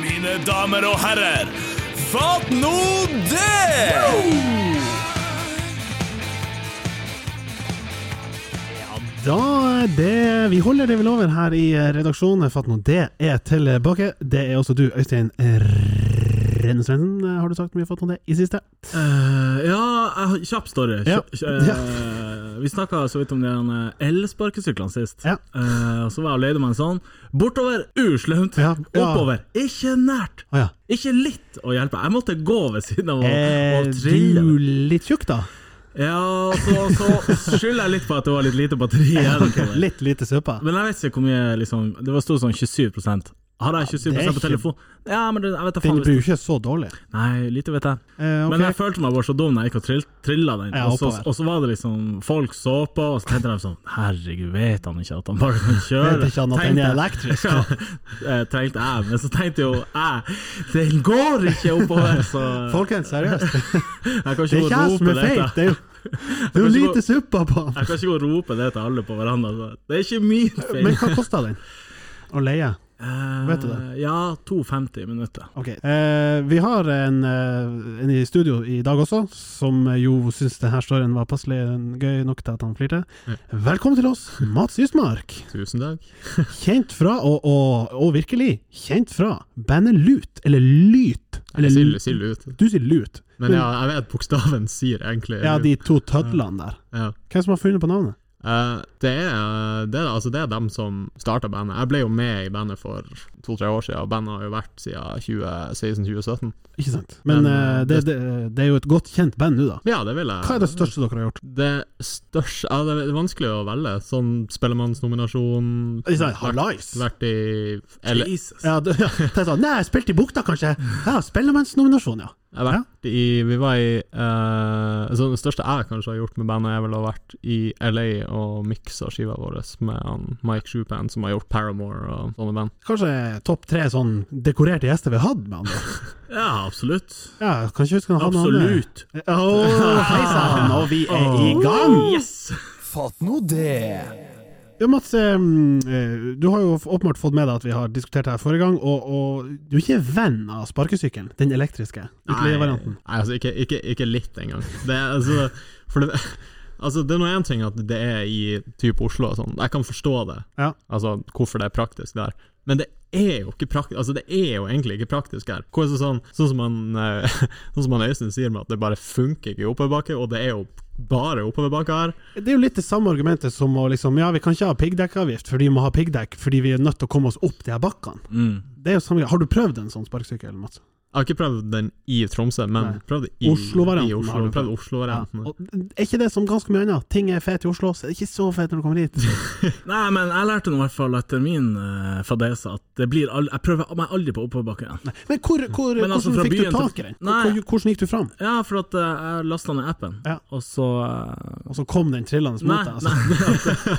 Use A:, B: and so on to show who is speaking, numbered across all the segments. A: mine damer og herrer. Fatt nå det!
B: Da det, Vi holder det ved loven her i eh, redaksjonen. Fatt nå, det er E tilbake. Det er også du, Øystein Rennesvensen. Har du sagt mye fatt nå det i siste?
C: Eh, ja, jeg har- kjapp story.
B: Ja.
C: Kjapp- eh, vi snakka så vidt om de her, eh, elsparkesyklene sist.
B: Ja.
C: Eh, og så var jeg og leide meg en sånn. Bortover, uslemt.
B: Ja, ja.
C: Oppover, ikke nært.
B: Å ja.
C: Ikke litt å hjelpe. Jeg måtte gå ved siden av og,
B: Er
C: og
B: Eh, du
C: trille.
B: litt tjukk, da?
C: Ja, så, så skylder jeg litt på at det var litt lite batteri igjen. på det.
B: Litt lite søpa?
C: Men jeg vet ikke hvor mye liksom, Det var stort sånn 27 Hadde jeg
B: Ja,
C: 27
B: det er
C: på
B: ikke-
C: telefon? Ja, men det, jeg vet da
B: Den
C: faen.
B: blir
C: hvis-
B: jo ikke så dårlig.
C: Nei, lite vet jeg.
B: Eh, ok.
C: Men jeg følte meg bare så dum når jeg gikk og trill, trilla den.
B: Ja,
C: og, så,
B: oppover.
C: og så var det liksom Folk så på, og så tenkte de sånn Herregud, vet han ikke at han bare kan kjøre?
B: Vet ikke han at den er elektrisk?
C: ja, tenkte jeg, men så tenkte jo jeg Den går ikke oppover, så
B: Folkens, seriøst.
C: jeg kan
B: Det er
C: ikke gå
B: ikke jeg
C: og
B: som
C: rope
B: er
C: det
B: feit.
C: til
B: Det er jo, det er jo
C: Jeg kan ikke
B: lite suppa på han.
C: jeg kan ikke gå og rope det til alle på verandaen. så Det er ikke min feil.
B: Men hva kosta den å leie?
C: Eh,
B: vet du det?
C: Ja, 2,50 minutter.
B: Ok. Eh, vi har en, eh, en i studio i dag også, som jo syns denne storyen var passelig gøy nok til at han flirte. Velkommen til oss, Mats Justmark.
D: Tusen takk.
B: Kjent fra, og, og, og virkelig kjent fra, bandet Lut, eller Lyt. Eller
D: Jeg sier,
B: Lut.
D: sier lut.
B: Du sier Lut.
D: Men ja, jeg vet bokstaven sier egentlig
B: Ja,
D: lut.
B: de to tødlene der.
D: Ja.
B: Hvem som har funnet på navnet?
D: Eh, det, er, det, er, altså, det er dem som starta bandet. Jeg ble jo med i bandet for to-tre år siden, og bandet har jo vært siden 2016-2017.
B: Ikke sant. Men,
D: Men,
B: eh, det, det, det er jo et godt kjent band nå, da.
D: Ja, det vil jeg.
B: Hva er det største dere har gjort?
D: Det største ja, Det er vanskelig å velge. Sånn spellemannsnominasjon
B: Ikke sant?
D: vært,
B: Hallais!
D: vært i eller,
C: Jesus.
B: Ja, det, ja. Tenkte sånn, Nei, jeg spilte i Bukta, kanskje. Ja, Spellemannsnominasjon, ja.
D: Jeg har vært i Vi var i eh, altså Det største jeg kanskje har gjort med bandet, er vel å ha vært i LA og miksa skiva vår med han Mike Shupan, som har gjort Paramore og sånne band.
B: Kanskje topp tre sånn dekorerte gjester vi har hatt med han. da.
C: Ja, absolutt.
B: Ja, kan ikke huske han hadde
C: Absolutt.
B: noe annet. Åh, Hei sann, og vi er i gang!
C: Yes!
A: Fatt nå det!
B: Ja, Mats, eh, eh, du har jo åpenbart fått med deg at vi har diskutert det her forrige gang, og, og du er ikke venn av sparkesykkelen, den elektriske utleievarianten.
D: Nei, altså ikke, ikke, ikke litt engang. Det er altså For det Altså Det er nå én ting at det er i type Oslo og sånn, jeg kan forstå det,
B: Ja.
D: Altså hvorfor det er praktisk der. Men det er jo ikke praktisk Altså det er jo egentlig ikke praktisk her. Hvor er det sånn, sånn, som han, eh, sånn som han Øystein sier med at det bare funker ikke i oppoverbakke, og det er jo bare oppoverbakke her.
B: Det er jo litt det samme argumentet som å liksom Ja, vi kan ikke ha piggdekkavgift fordi vi må ha piggdekk fordi vi er nødt til å komme oss opp de her bakkene. Det er jo samme, har du prøvd en sånn sparkesykkel, Mats?
D: Jeg har ikke prøvd den i Tromsø, men
B: Nei.
D: prøvd i
B: Oslo-varianten
D: i Oslo.
B: har du
D: Prøvd
B: Ja.
D: Oslo-varianten.
B: Og er ikke det som ganske mye annet? Ting er fett i Oslo, så er det ikke så fett når du kommer hit.
C: Nei, men jeg lærte nå i hvert fall etter min eh, fadese at det blir aldri, jeg prøver meg aldri på oppoverbakken.
B: Men hvor, hvor,
C: Men altså,
B: hvordan
C: fra
B: fikk du
C: byen til-
B: tak i den?
C: Nei.
B: Hvor, hvordan gikk du fram?
C: Ja, for at eh, jeg lasta ned appen,
B: Ja.
C: og så eh,
B: Og så kom den trillende
C: Nei,
B: mot deg?
C: nei,
B: Altså.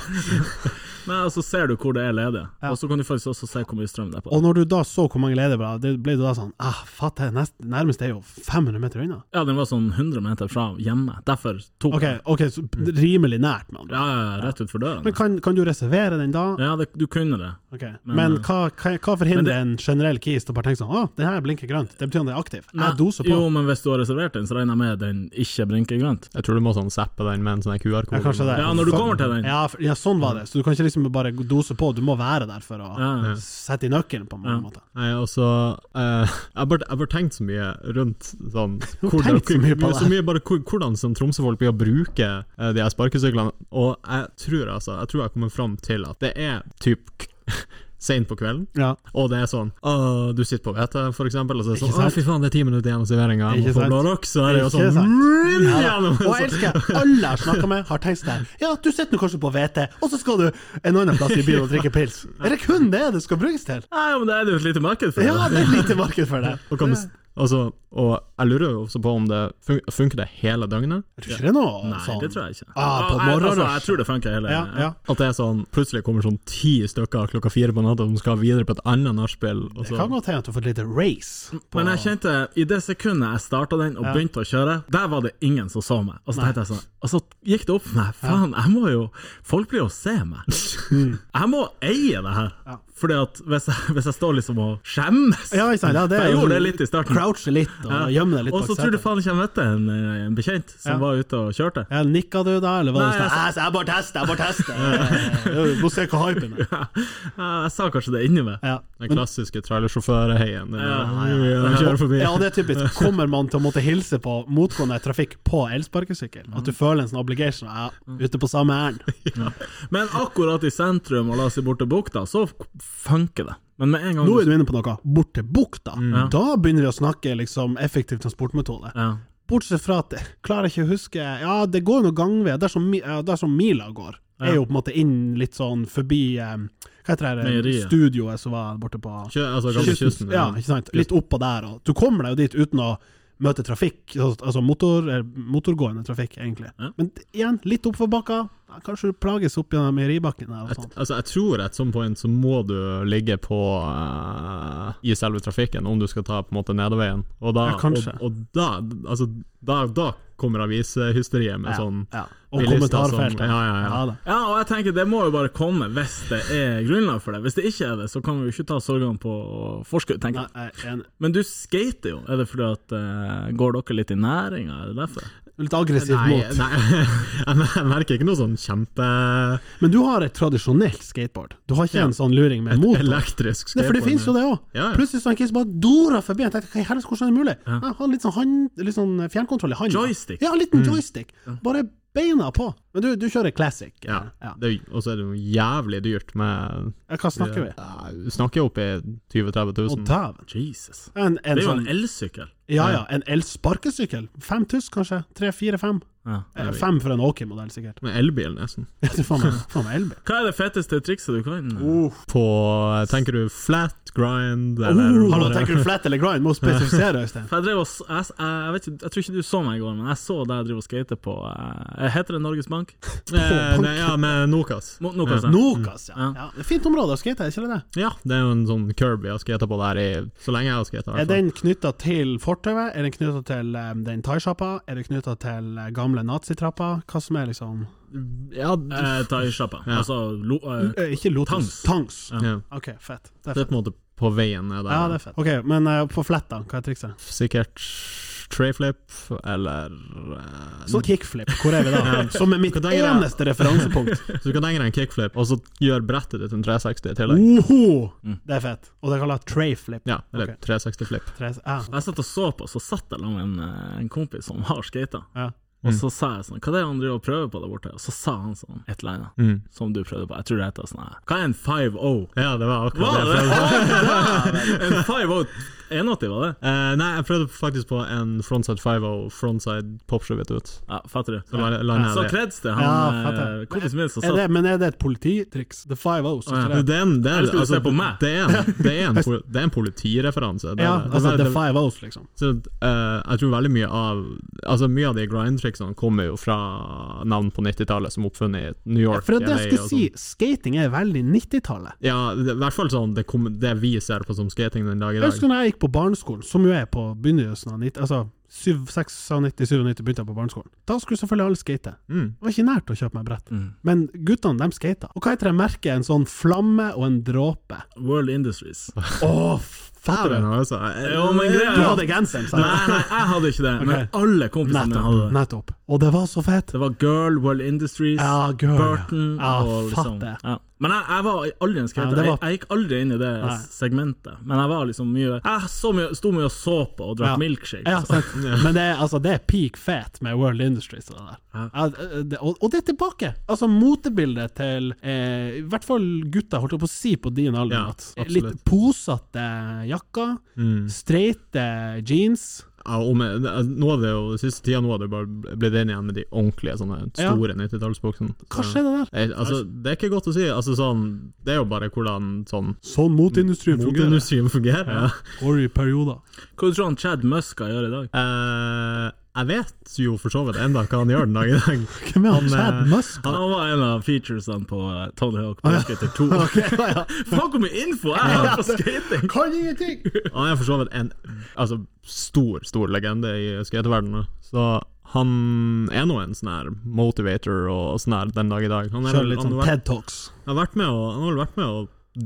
C: nei, og så ser du hvor det er ledig,
B: Ja.
C: og så kan du faktisk også se hvor mye strøm det er på.
B: Og når du da så hvor mange ledere det ble du da sånn ah, fatt, det nest, Nærmest er jo 500 meter unna.
C: Ja, den var sånn 100 meter fra hjemme, derfor tok
B: Ok,
C: jeg den.
B: ok, så rimelig nært, med andre ord.
C: Ja, ja, rett ut for døren.
B: Men kan, kan du reservere den da?
C: Ja, eh, det, du kunne det.
B: Ok. Men hva, hva, hva forhindrer en generell keys til å bare tenke sånn Å, den her blinker grønt, det betyr at den er aktiv. Jeg doser på.
C: Jo, men hvis du har reservert den, så regner jeg med den ikke blinker grønt.
D: Jeg tror du må sånn zappe den med en sånn QR-kode.
B: Ja, kanskje det.
C: Ja, når du
B: Fuck.
C: kommer til den.
B: Ja, for- ja, sånn var det. Så du kan ikke liksom bare dose på, du må være der for å
C: Ja.
B: sette i nøkkelen på en
C: Ja.
B: måte.
D: Nei, altså eh, Jeg bare- jeg bare tenkt så mye rundt sånn hvordan,
B: tenkt så mye på det.
D: så mye bare hvor- hvordan sånn Tromsø-folk blir å bruke eh, de her sparkesyklene, og jeg tror altså Jeg tror jeg kommer fram til at det er typ k- sent på kvelden,
B: Ja.
D: og det er sånn Å, du sitter på VT, for eksempel, og så er det
B: Ikke
D: sånn Å,
B: sant?
D: fy faen, det er ti minutter igjen av serveringa, jeg
B: Ikke
D: må få
B: sant?
D: blå rock, så er det jo
B: Ikke sant?
D: sånn
B: Ja, da.
D: gjennom-
B: og jeg elsker alle jeg har snakka med, har tenkt sånn her, Ja, du sitter nå kanskje på VT, og så skal du en annen plass i byen og drikke pils. Er det kun det det skal brukes til?
C: Nei, men det er det jo et lite marked for.
B: Ja,
C: det.
B: det er lite marked for det.
D: Og, kan du s- altså, og jeg lurer jo også på om det fun funker det hele døgnet.
B: Jeg tror ikke det er noe
C: Nei,
B: sånn.
C: det tror jeg ikke.
B: Ah, på
C: Ja, jeg, altså,
B: morgenrush.
C: jeg tror det funker hele
B: Ja, ja.
D: At det er sånn, plutselig kommer sånn ti stykker klokka fire på natta som skal videre på et annet nachspiel. og
B: Det
D: så-
B: kan godt hende at du har fått litt race. På,
C: Men jeg kjente, i det sekundet jeg starta den og
B: Ja.
C: begynte å kjøre, der var det ingen som så meg. Og så tenkte jeg sånn Og så gikk det opp
B: Mm.
C: for meg, faen, jeg må jo Folk blir jo å se meg. Jeg må eie det her. Fordi at hvis jeg, hvis jeg står liksom og skjemmes
B: Ja, ikke sant? Ja, det
C: For
B: er
C: Jeg
B: jo sånn-
C: gjorde det litt i starten.
B: Crouche litt og
C: Ja.
B: gjemme deg litt
C: Og så tror du faen ikke jeg møtte en, eh, en bekjent som
B: Ja.
C: var ute og kjørte.
B: Ja, Nikka du da, eller var
C: Nei, altså-
B: du sånn «Æ, så Jeg bare tester, jeg bare tester. Ja, Du må se hva hypen er.
C: Jeg sa kanskje det inni meg.
B: Ja.
D: Den
B: Men,
D: klassiske trailersjåførheien. sånn, den
C: Ja,
D: der, «Ui, Kjører forbi.
B: ja, det er typisk. Kommer man til å måtte hilse på motgående trafikk på elsparkesykkel? At du føler en sånn obligation ja, ute på samme ærend?
C: Men akkurat i sentrum og la oss si bort til bukta, så funker det. Men med en gang
B: Nå er du inne på noe. Bort til bukta.
C: Ja.
B: Da begynner vi å snakke liksom, effektiv transportmetode.
C: ja.
B: Bortsett fra at jeg klarer ikke å huske Ja, det går jo noen gangveier der, som mi- ja, der som mila går. Er jo på en måte inn litt sånn forbi eh, Hva heter det her,
C: Meieriet.
B: studioet som var borte på
D: Kjø, altså gamle kysten.
B: Ja, ikke sant. Litt oppå der. Og du kommer deg jo dit uten å møte trafikk, altså motor, eh, motorgående trafikk, egentlig.
C: Ja.
B: Men d- igjen, litt oppfor bakka. Ja, Kanskje du plages opp gjennom meieribakken der og
D: Jeg,
B: sånn.
D: altså, jeg tror at some point så må du ligge på eh, i selve trafikken om du skal ta på en måte nedoverveien. Og da,
B: Ja, kanskje.
D: og, og da, altså, da, da kommer avishysteriet med
B: Ja,
D: sånn
B: ja. Og
D: bilister som-
B: kommentarfeltet.
D: Ja, ja, ja.
B: da.
C: ja, og jeg tenker det må jo bare komme hvis det er grunnlag for det. Hvis det ikke er det, så kan vi jo ikke ta sorgene på forskudd, tenker
B: Nei,
C: jeg.
B: jeg er enig.
C: Men du skater jo. Er det fordi at eh, Går dere litt i næringa, er det derfor?
B: Litt aggressivt
D: Nei,
B: mot.
D: nei jeg mer- jeg merker ikke noe sånn kjempeelektrisk
B: Men du har et tradisjonelt skateboard. Du har ikke en sånn luring med motor. Nei, for det finnes jo det òg.
D: Ja, ja.
B: Plutselig så en kis bare dora forbi. Jeg tenkte hva i helvete, hvordan er det mulig? Ja. Han hadde litt sånn, hand, litt sånn fjernkontroll i hånda.
C: Joystick.
B: Ja, en liten joystick. Bare beina på. Men du, du kjører classic.
D: Ja.
B: Ja.
D: Det er jo- Og så er det jo jævlig dyrt med
B: Ja, Hva snakker vi?
D: Ja, vi snakker jo opp i 20 000-30
B: Å,
D: 000.
B: dæven.
C: Jesus.
B: En,
C: Det
B: en
C: er jo en
B: sånn,
C: elsykkel.
B: ja, ja, en elsparkesykkel. Fem tuss, kanskje? Tre, fire, fem?
C: Ja.
B: Eh, Fem for en Åki-modell, sikkert.
D: Med elbil, nesten.
B: Ja, du faen meg faen meg elbil.
C: Hva er det feteste trikset du kan?
D: På Tenker du flat grind, eller
B: Oh, Hallo, tenker du flat eller grind? Må spesifisere, Øystein.
C: For jeg, drev og, s- jeg, s- jeg, jeg, vet ikke, jeg tror ikke du så meg i går, men jeg så deg drive og skate på eh, Heter det Norges Bank?
D: Eh, nei, ja, med Nokas.
C: Mo- Nokas, ja.
B: Nokas, ja. ja. Det er Fint område å skate, er ikke det det?
D: Ja, det er jo en sånn curb jeg har skata på der i så lenge jeg har skata.
B: Er den knytta til fortauet? Er den knytta til um, den thaisjappa? Er den knytta til eh, gamle nazitrappa? Hva som er liksom
D: Ja, du-
C: Eh, Thaisjappa.
D: Ja.
C: Altså lo, eh,
B: Eh, Ikke Lotus.
C: Tangs.
B: Tangs.
D: ja.
B: OK, fett. Det er
D: Det er
B: fett.
D: på en måte på veien Mm. ned der.
B: Ja, det er fett. Ok, Men eh, på fletta, hva er trikset?
D: Sikkert trayflip eller eh,
B: Så kickflip, hvor er vi da? Som er mitt
D: Hva tenker jeg?
B: eneste referansepunkt.
D: Så du kan tenke deg en kickflip, og så gjør brettet ditt en 360 i
B: Oh.
D: tillegg.
B: Oho! Det er fett. Og det kalles trayflip.
D: Ja, eller
B: Ok.
D: 360-flip.
B: Tre, ah.
C: jeg satt og så på, så satt jeg sammen med en, eh, en kompis som har skata.
B: Ja.
D: Mm.
C: Og så sa jeg sånn Hva er det han driver og prøver på der borte? Og så sa han sånn et eller annet
D: Mm.
C: som du prøvde på. Jeg tror det heter sånn her Hva er en 5-0?
D: Ja, det sånn. var akkurat
C: Var
D: det.
C: det det?
D: jeg prøvde på.
C: En 5-0 81, var det?
D: Eh, nei, jeg prøvde faktisk på en frontside 5-0, frontside popshove ut.
C: Ja, fatter du.
D: Så la- la ned
C: Så
D: det.
C: kreds til
B: Ja,
C: han
B: fatter.
C: eh, kompisen min som
B: Er
C: satt
B: det, men er det et polititriks? The five O's?
C: Å, ja.
B: ikke det?
D: Det er en, det er, altså,
C: Eller skulle du se på meg?
D: det er en, det er en, pol- det er en politireferanse. Det er
B: Ja,
D: det. Det er
B: altså
D: bare-
B: the
D: det-
B: five O's, liksom.
D: Så, eh, jeg tror veldig mye av Altså Mye av de grindtricksene kommer jo fra navn på 90-tallet som oppfunnet i New York.
B: For det jeg
D: LA
B: skulle
D: og
B: si,
D: sånn.
B: skating er veldig 90-tallet.
D: Ja, det, i hvert fall sånn det, kom, det vi ser på som skating den dag i
B: Jeg
D: dag.
B: husker når jeg gikk på barneskolen, som jo er på begynnelsen av 90, altså 96-97 begynte jeg på barneskolen. Da skulle selvfølgelig alle skate.
D: Mm.
B: Det var ikke nært å kjøpe meg brett.
C: Mm.
B: Men guttene, de skata. Og hva heter det merket? En sånn flamme og en dråpe.
C: World Industries.
B: Å, fatter
D: Dæven,
B: du!
D: altså.
C: Jo, men greia
B: Du
C: er
B: hadde genseren,
C: Nei,
B: sa jeg.
C: nei, jeg hadde ikke det, men
B: Ok.
C: alle kompisene mine hadde
B: Nettopp.
C: det.
B: Nettopp. Og det var så fett.
C: Det var Girl, World Industries,
B: Ja, girl.
C: Burton
B: ja,
C: og liksom
B: fatter.
C: ja. Men jeg, jeg var aldri en skater.
B: Ja, det var-
C: jeg, jeg gikk aldri inn i det
B: Nei.
C: segmentet. Men jeg var liksom mye Jeg så mye, sto mye og så på og drakk
B: Ja.
C: milkshake.
B: Ja,
C: og sånn.
B: sant. Men det er, altså, det er peak fat med World Industries. Og det, der.
C: Ja.
B: Ja, eh, det- og, og det er tilbake! Altså Motebildet til eh, i hvert fall gutta, holdt jeg på å si, på din alder.
D: Ja,
B: at
D: absolutt. Mm.
B: litt posete jakker, streite jeans.
D: Ja, og med, altså, nå er det jo, den siste tida nå er det bare blitt inn igjen med de ordentlige sånne
B: Ja.
D: store 90-tallsbuksene.
B: Hva skjedde der?
D: Eh, Altså, det er ikke godt å si. Altså, sånn, det er jo bare hvordan sånn
B: Sånn moteindustrien fungerer.
D: motindustrien fungerer. Ja.
B: Går i perioder.
C: Hva du tror han Chad Muska gjør i dag?
D: Eh, jeg vet jo for så vidt enda hva han gjør den dag i dag.
B: Hvem er han?
D: Han,
B: Chad
D: eh,
B: Musk?
C: Han var en av featuresene på eh, Tony Hawk Pro Skater 2. Faen, hvor mye info jeg har på skating!
B: Kan ingenting!
D: Han er for så vidt en altså, stor, stor legende i skateverdenen. Så han er nå en sånn her motivator og sånn her den dag i dag. Han, er,
B: Kjører
D: vel-
B: litt
D: han,
B: sånn
D: har vært,
B: TED Talks.
D: han, har vært med å, han har vel vært med å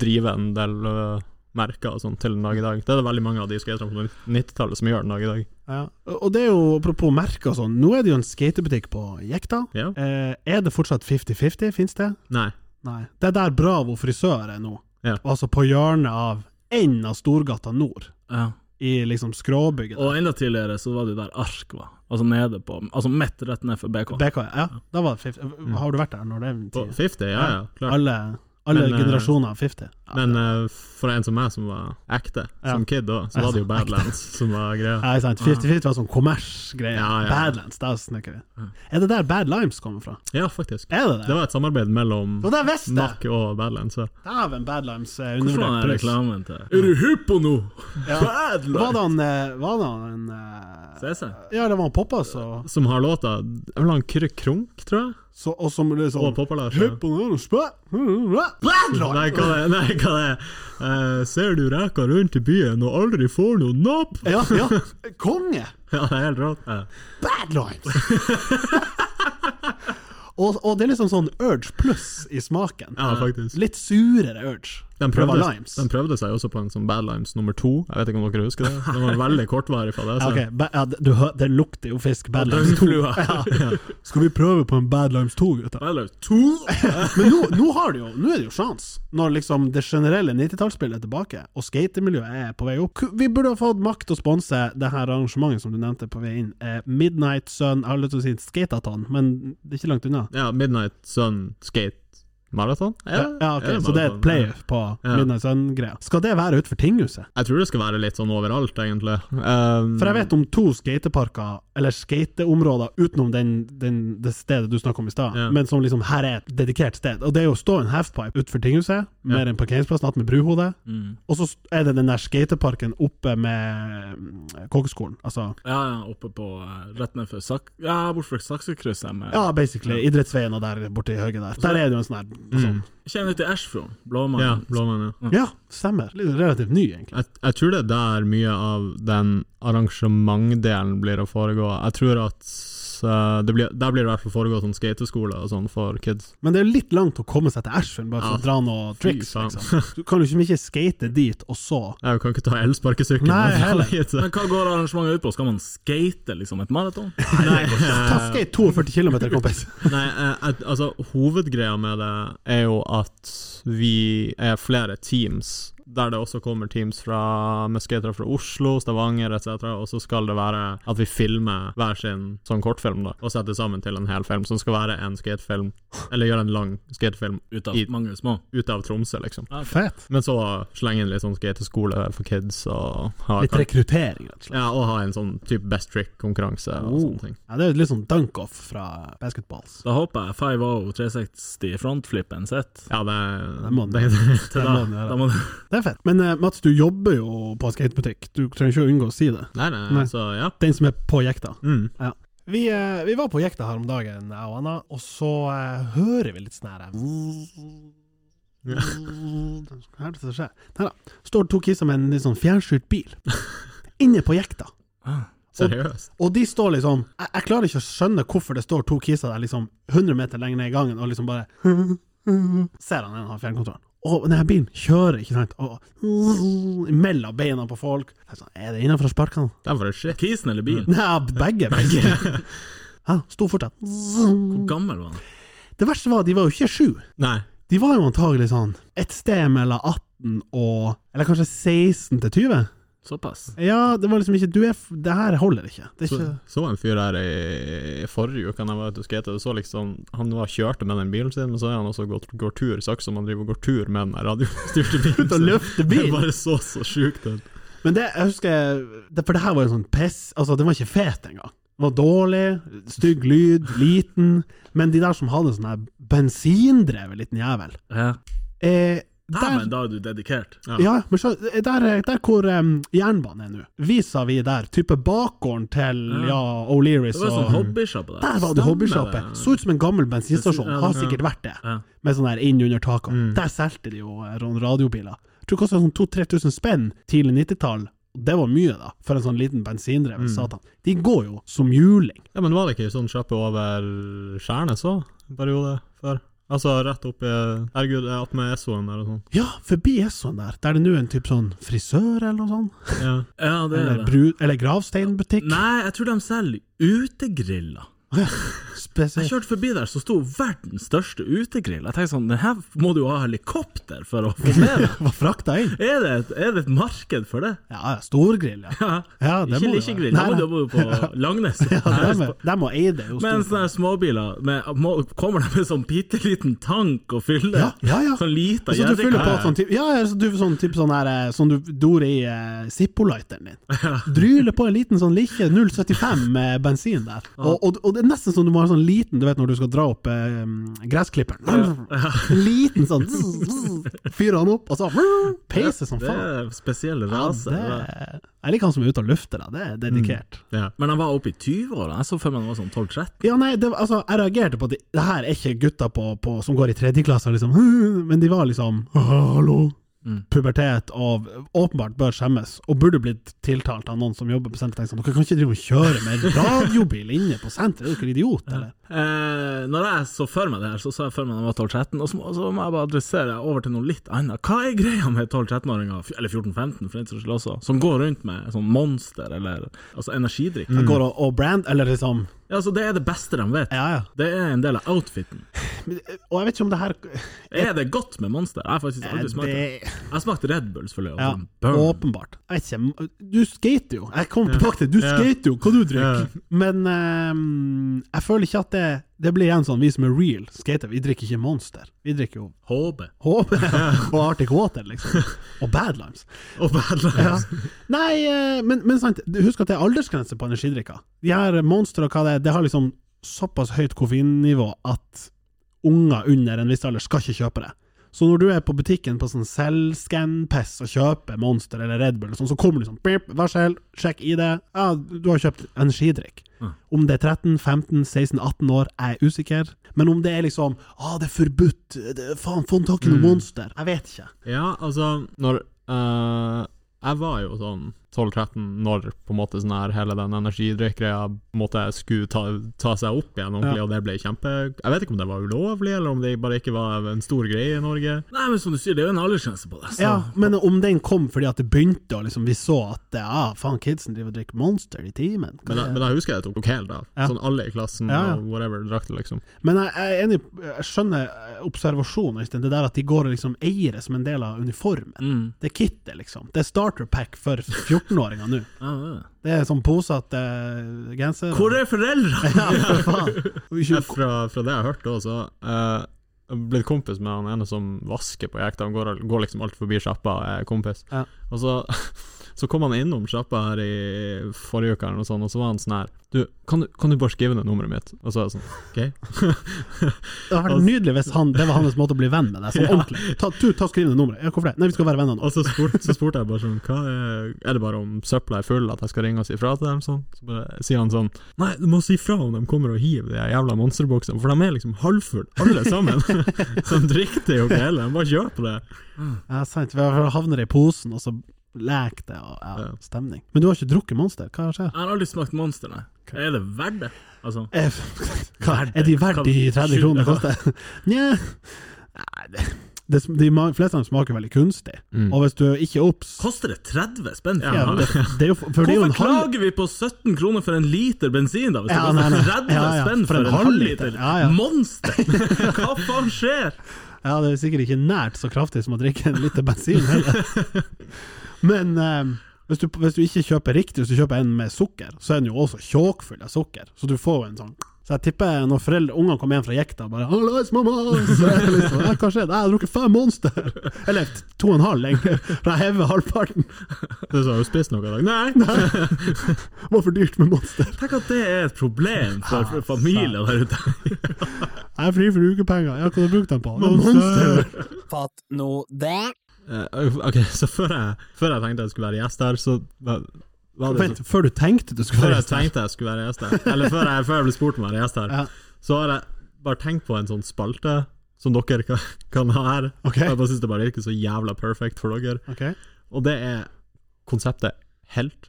D: drive en del øh, merker og sånn til den dag i dag. Det er det veldig mange av de skaterne på 90-tallet som gjør den dag i dag.
B: Ja. Og det er jo, apropos merker og sånn, nå er det jo en skatebutikk på Jekta.
D: Ja.
B: Eh, er det fortsatt 50-50, fins det?
D: Nei.
B: Nei. Det er der Bravo frisør er nå.
D: Ja.
B: Altså på hjørnet av enden av Storgata nord,
C: Ja.
B: i liksom skråbygget. der.
C: Og enda tidligere så var det jo der Ark var. Altså nede på Altså midt rett ned for BK.
B: BK, ja. Da var det 50. Har du vært der når det er
D: På
B: tid?
D: 50, ja Mm. ja, klart.
B: Alle, alle
D: Men, eh,
B: generasjoner av 50. Ja,
D: Men øh, for en som meg, som var ekte
B: Ja.
D: som kid da, så var det jo Badlands som var greia.
B: Nei, sant. 50-50 var sånn kommersgreie.
D: Ja, ja.
B: Badlands, der snakker vi. Er det der Bad Limes kommer fra?
D: Ja, faktisk.
B: Er det det?
D: Det var et samarbeid mellom
B: Og der visste jeg!
D: Mack og Badlands. Ja.
B: Dæven, Bad Limes eh, er
C: Hvorfor
B: undervurdert.
C: er
B: pluss.
C: reklamen til Er du hypp på noe?
B: Ja. Var det han eh, Var det han eh,
C: CC?
B: Ja, det var han Poppa, så,
D: Som har låta Det er vel han Kyrre Krunk, tror jeg?
B: så Og som liksom
D: Og Poppa Lars. ja.
B: Hør på den, og spø- Bad Limes!
D: Nei, hva det er? Nei, hva det er? Eh, ser du reka rundt i byen og aldri får noe napp?
B: Ja, ja. Konge!
D: Ja, det er helt rått. Ja.
B: Bad Limes! og, og det er liksom sånn Urge pluss i smaken.
D: Ja, faktisk.
B: Litt surere Urge.
D: De
B: For det var
D: prøvde,
B: limes.
D: de prøvde seg også på en sånn Bad Limes nummer to. Jeg vet ikke om dere husker det? Den var veldig kortvarig fra det.
B: Ja,
D: Så.
B: ok, ba ja, det- du, hø- det lukter jo fisk. Bad Limes 2.
C: Døgnflua.
B: Skal vi prøve på en Bad Limes 2, gutter?
C: Eller to?
B: Men nå, nå, har det jo, nå er det jo sjans, når liksom det generelle 90-tallsspillet er tilbake, og skatemiljøet er på vei opp. Ku- Vi burde ha fått makt til å sponse det her arrangementet som du nevnte på vei inn. Eh, Midnight Sun, jeg har lyst til å si skateathon, men det er ikke langt unna.
D: Ja, Midnight Sun Skate Marathon?
B: Ja, ok, Så det er et
D: player
B: playoff på
D: Ja.
B: Midnight Sun-greia. Skal det være utenfor tinghuset?
D: Jeg tror det skal være litt sånn overalt, egentlig. Um,
B: For jeg vet om to skateparker, eller skateområder, utenom den, den, det stedet du snakka om i stad,
D: Ja.
B: men som liksom her er et dedikert sted. Og det er jo å stå en halfpipe utenfor tinghuset, med en parkeringsplass natt med bruhode,
D: Mm.
B: og så er det den der skateparken oppe med mm, kokkeskolen. Altså
C: Ja, ja, oppe på eh, Rett ned for Sak... Ja, bort fra Saksekrysset med
B: ja, basically, idrettsveien og der borte i høyre der. Der er det jo en sånn her sånn.
C: Kjenner du til Ashfjord?
D: Ja,
C: Blåmann?
D: Blåmann, Mm. ja.
B: Ja, stemmer. Litt relativt ny, egentlig.
D: Jeg, jeg tror det er der mye av den arrangementdelen blir å foregå. Jeg tror at eh, det blir, Der blir det i hvert fall foregå sånn skateskole og sånn for kids.
B: Men det er jo litt langt å komme seg til Ashford bare for
D: Ja,
B: å dra noen
D: fy
B: tricks,
D: faen.
B: liksom. Du kan jo ikke mye skate dit, og så
D: Jeg kan ikke ta elsparkesykkelen.
B: Nei, heller.
C: Men hva går arrangementet ut på? Skal man skate liksom et maraton?
B: Ta
D: Eh.
B: skate 42 km, kompis!
D: Nei, eh, at- altså Hovedgreia med det er jo at vi er flere teams, der det også kommer teams fra med skatere fra Oslo, Stavanger etc., og så skal det være at vi filmer hver sin sånn kortfilm da, og setter sammen til en hel film, som skal være en skatefilm, eller gjøre en lang skatefilm
C: Ut av
D: I-
C: mange små?
D: ute av Tromsø, liksom.
B: Fett.
D: Men så slenge inn litt sånn skateskole for kids, og ha,
B: Litt rekruttering, rett og slett.
D: ja, og ha en sånn type best trick-konkurranse og
B: Oh.
D: sånne ting.
B: Ja, det er jo litt sånn dunk-off fra basketballs.
C: Da håper jeg 5-0-360 frontflippen sitt.
D: Ja,
B: Det må
D: det,
B: den
D: det,
B: Det må den
C: Da
B: gjøre.
C: må du
B: Det er fett. Men eh, Mats, du jobber jo på skatebutikk. Du trenger ikke å unngå å si det.
D: Nei,
B: Nei.
D: nei, så ja.
B: Den som er på jekta.
D: Mm.
B: Vi, eh, vi var på jekta her om dagen, jeg og Anna, og så eh, hører vi litt sånn her eh,
D: Ja.
B: Hva er det som skjer? Nei da. Står to kisser med en litt sånn fjernstyrt bil inne på jekta.
D: Seriøst?
B: Og de står liksom jeg, jeg klarer ikke å skjønne hvorfor det står to kisser der liksom 100 meter lenger ned i gangen og liksom bare Ser han en har fjernkontrollen. Og denne bilen kjører, ikke sant, og mellom beina på folk. Jeg er Sånn, er det innenfor å sparke han?
D: Det er for et shit.
C: Kisen eller bilen?
B: Nei, begge. begge. Hæ, sto fortsatt. Mm.
C: Hvor gammel var han?
B: Det verste var at de var jo ikke sju.
D: Nei.
B: De var jo antagelig sånn et sted mellom 18 og Eller kanskje 16 til 20.
C: Såpass?
B: Ja, det var liksom ikke Du er f- Det her holder ikke. Det er
D: Så,
B: ikke
D: så en fyr her i forrige uke han var ute og skate, og så liksom Han var kjørte med den bilen sin, men så er han også gått, går tur, sagt som han driver og går tur med den der radiostyrte bilen
B: Ut og løfte
D: Det
B: bil!
D: bare så så sjukt ut.
B: Men det, jeg husker det, For det her var jo sånn piss Altså, den var ikke fet engang. Den var dårlig, stygg lyd, liten. Men de der som hadde sånn her bensindrevet liten jævel
C: Ja.
B: eh,
C: men
B: der,
C: da er du dedikert.
B: ja, men så, der, der hvor em, jernbanen er nå, vis-à-vis der, type bakgården til ja, O'Learys
C: Det var sånn
B: og
C: hobbyshoppe der.
B: Der var det
D: Stemmer
B: hobbyshoppe.
D: det.
B: Så ut som en gammel bensinstasjon.
D: Ja,
B: Har
D: ja.
B: sikkert vært det.
C: Ja. Mm.
B: Med sånn her inn under taket. Der solgte de jo eh, sånn radiobiler. Jeg tror det kosta sånn 2000-3000 spenn tidlig 90-tall. Det var mye, da, for en sånn liten
C: Mm.
B: bensindreven satan. De går jo som juling.
D: Ja, men var det ikke sånn kjappe over Skjærnes òg, en periode før? Altså rett opp i Herregud, jeg er attmed Essoen der og sånn.
B: Ja, forbi Essoen der. Der er det nå en type sånn frisør eller noe sånt.
D: Ja.
C: Ja, det er
B: Eller,
C: det.
B: bru, eller gravsteinbutikk.
C: Nei, jeg tror de selger utegriller. Jeg
B: Spesielt.
C: kjørte forbi der, så sto verdens største utegrill. Jeg tenkte sånn, den her må du jo ha helikopter for å få med deg.
B: Var frakta inn.
C: Er det, et, er det et marked for det?
B: Ja, ja, storgrill, ja.
C: Ja,
B: Ja, det
C: ikke
B: må det være.
C: likkegrill, da
B: Nei,
C: må
B: nei.
C: du må du på Langnes.
B: Ja, de, er- de må eie det. jo
C: Men
B: stort.
C: sånne her småbiler, med, må, kommer de med sånn bitte liten tank og fyller?
B: Ja, ja, ja.
C: Sånn lita
B: Så du fyller på
C: jerrycan.
B: sånn type Ja, ja, så du får sånn type sånn her eh, Som du dor i eh, Zippo-lighteren din. Dryler på en liten sånn likke 0,75 med eh, bensin der. Og, og, og det er nesten som du må ha sånn liten, du vet når du skal dra opp eh, gressklipperen. En liten sånn Fyrer han opp, og så peiser som
C: Det
B: faen.
C: er spesielle
B: Ja, Mm.
C: raser.
B: det, jeg liker han som er ute og lufter, da. Det er dedikert.
D: ja.
C: Men han var oppe i 20-åra. Jeg så for meg han var sånn 12-13.
B: Ja, nei, det, var- altså, jeg reagerte på at de, det her er ikke gutter på, på, som går i tredje klasse, liksom. Men de var liksom Hallo! Pubertet og åpenbart bør skjemmes, og burde blitt tiltalt av noen som jobber på senteret. Tenkte sånn, Dere kan ikke drive og kjøre med radiobil inne på senteret, er dere idioter, eller?
C: Eh, når jeg så for meg det her, så så jeg for meg da jeg var 12-13, og så, må- så må jeg bare adressere det over til noe litt annet. Hva er greia med 12-13-åringer, fj- eller 14-15 for den saks skyld også, som går rundt med sånn monster eller altså energidrikk?
B: Jeg Går og, og brand, eller liksom
C: Ja, altså, det er det beste de vet.
B: Mm. Ja, ja.
C: Det er en del av outfiten.
B: Men, eh, Og jeg vet ikke om det her
C: Er det godt med monster? Jeg har faktisk aldri smakt det.
B: det,
C: Jeg smakte Red Bulls for løye.
B: ja,
C: og sånn, burn.
B: Åpenbart. Jeg vet ikke, du skater jo. Jeg kommer tilbake til du skater jo, hva du drikker. Men ehm, jeg føler ikke at det Det blir igjen sånn, vi som er real skater, vi drikker ikke Monster. Vi drikker jo
C: HB.
B: HB og Arctic Water, liksom. Og Badlands.
D: Og Badlands.
B: Nei, eh, men, men sant, du husk at det er aldersgrense på energidrikker. De her Monster og hva det er, det har liksom såpass høyt koffeinnivå at unger under en viss alder skal ikke kjøpe det. Så når du er på butikken på sånn selvscan-piss og kjøper Monster eller Red Bull, og sånn, så kommer du sånn «Bip, Vær så snill, sjekk i det. Ja, du har kjøpt energidrikk. Om det er 13, 15, 16, 18 år, jeg er usikker. Men om det er liksom ah, det er forbudt, det, faen, få tak i noe Monster. Jeg vet ikke.
D: Ja, altså Når eh, Jeg var jo sånn 12-13 når på en måte sånn her hele den energidrikkgreia på en måte skulle ta, ta seg opp igjen ordentlig,
B: Ja.
D: og det ble kjempe Jeg vet ikke om det var ulovlig, eller om det bare ikke var en stor greie i Norge.
C: Nei, men som du sier, det er jo en aldersgrense på det. Så.
B: Ja, men om den kom fordi at det begynte, og liksom vi så at det, ah, faen, kidsen driver og drikker Monster i timen.
C: eh,
D: Men, jeg- men jeg husker jeg tok helt av.
B: Ja.
D: Sånn alle i klassen
B: Ja, ja.
D: og whatever drakk det, liksom.
B: Men jeg, jeg er enig, jeg skjønner eh, observasjonen, Øystein, det der at de går og liksom eier det som en del av uniformen.
C: Mm.
B: Det er kittet, liksom. Det er starter pack for 14-åringer nå.
C: Ja, det er det.
B: Det er sånn posete uh, genser.
C: Hvor er foreldrene?
B: Ja, for faen. Og ikke-
D: Jeg, fra, fra det jeg har hørt, også, eh, jeg har blitt kompis med han ene som vasker på jekta. Han går, al- går liksom alt forbi sjappa, er kompis.
B: Ja.
D: Og så, så kom han innom sjappa her i forrige uke, eller noe sånt, og så var han sånn her du kan, du, kan du bare skrive ned nummeret mitt? Og så er jeg sånn OK.
B: Det hadde vært nydelig hvis han, det var hans måte å bli venn med deg, sånn ordentlig. Ta, du, ta skriv ned nummeret. Ja, hvorfor det? Nei, vi skal være venner nå.
D: Og så spurte, så spurte jeg bare sånn Hva er, er det bare om søpla er full, at jeg skal ringe og si ifra til dem? Sånn? Så bare sier han sånn Nei, du må si ifra om de kommer og hiver de her jævla monsterboksene, for de er liksom halvfulle, alle sammen. så de drikker det jo ikke heller, de bare kjøper det.
B: Ja, sant. Vi havner i posen, og så leker det, og ja,
D: Ja.
B: stemning. Men du har ikke drukket Monster? Hva skjer?
C: Jeg har aldri smakt monster, nei. Er det verdt det? Altså,
B: Eh, Hva, er de verdt de 30 kronene det koster? Nja Nei, det, det, sm- De ma- fleste av dem smaker veldig kunstig. Og hvis du ikke er obs
C: koster det 30 spenn? for
B: Mm. ja,
C: en
B: det, det er jo, for det er jo
C: Hvorfor
B: en halv
C: klager vi på 17 kroner for en liter bensin, da? Hvis
B: Ja,
C: det
B: nei, nei.
C: koster 30
B: Ja, ja,
C: spenn for en, halv liter?
B: Ja, ja.
C: Monster! Hva faen skjer?
B: Ja, det er sikkert ikke nært så kraftig som å drikke en liter bensin heller. Men eh, hvis, du, hvis du ikke kjøper riktig, hvis du kjøper en med sukker, så er den jo også tjåkfull av sukker. Så du får jo en sånn Så jeg tipper når foreldre, ungene kommer hjem fra jekta og bare 'Hallais, mamma!' Så er det liksom, ja, 'Hva skjer? Nei, Jeg har drukket fem Monster!' Eller t- to og en halv, egentlig. For jeg hever halvparten.
D: Du sa jo spist noe i dag. Nei!
B: Det var for dyrt med Monster.
C: Tenk at det er et problem for,
B: Ah,
C: for familier der ute.
B: Jeg er fri for ukepenger. Ja, hva har du brukt dem på? Monster!
E: Fatt nå det.
D: Eh, ok, så før jeg, før jeg tenkte jeg skulle være gjest her, så var, var det
B: Vent, før du tenkte du skulle
D: Før
B: være
D: jeg tenkte jeg skulle være gjest her, eller før jeg, før jeg ble spurt om å være gjest her,
B: Ja.
D: så har jeg bare tenkt på en sånn spalte som dere kan, kan ha her.
B: Ok.
D: Jeg bare synes det bare virker så jævla perfect for dere.
B: Ok,
D: Og det er konseptet helt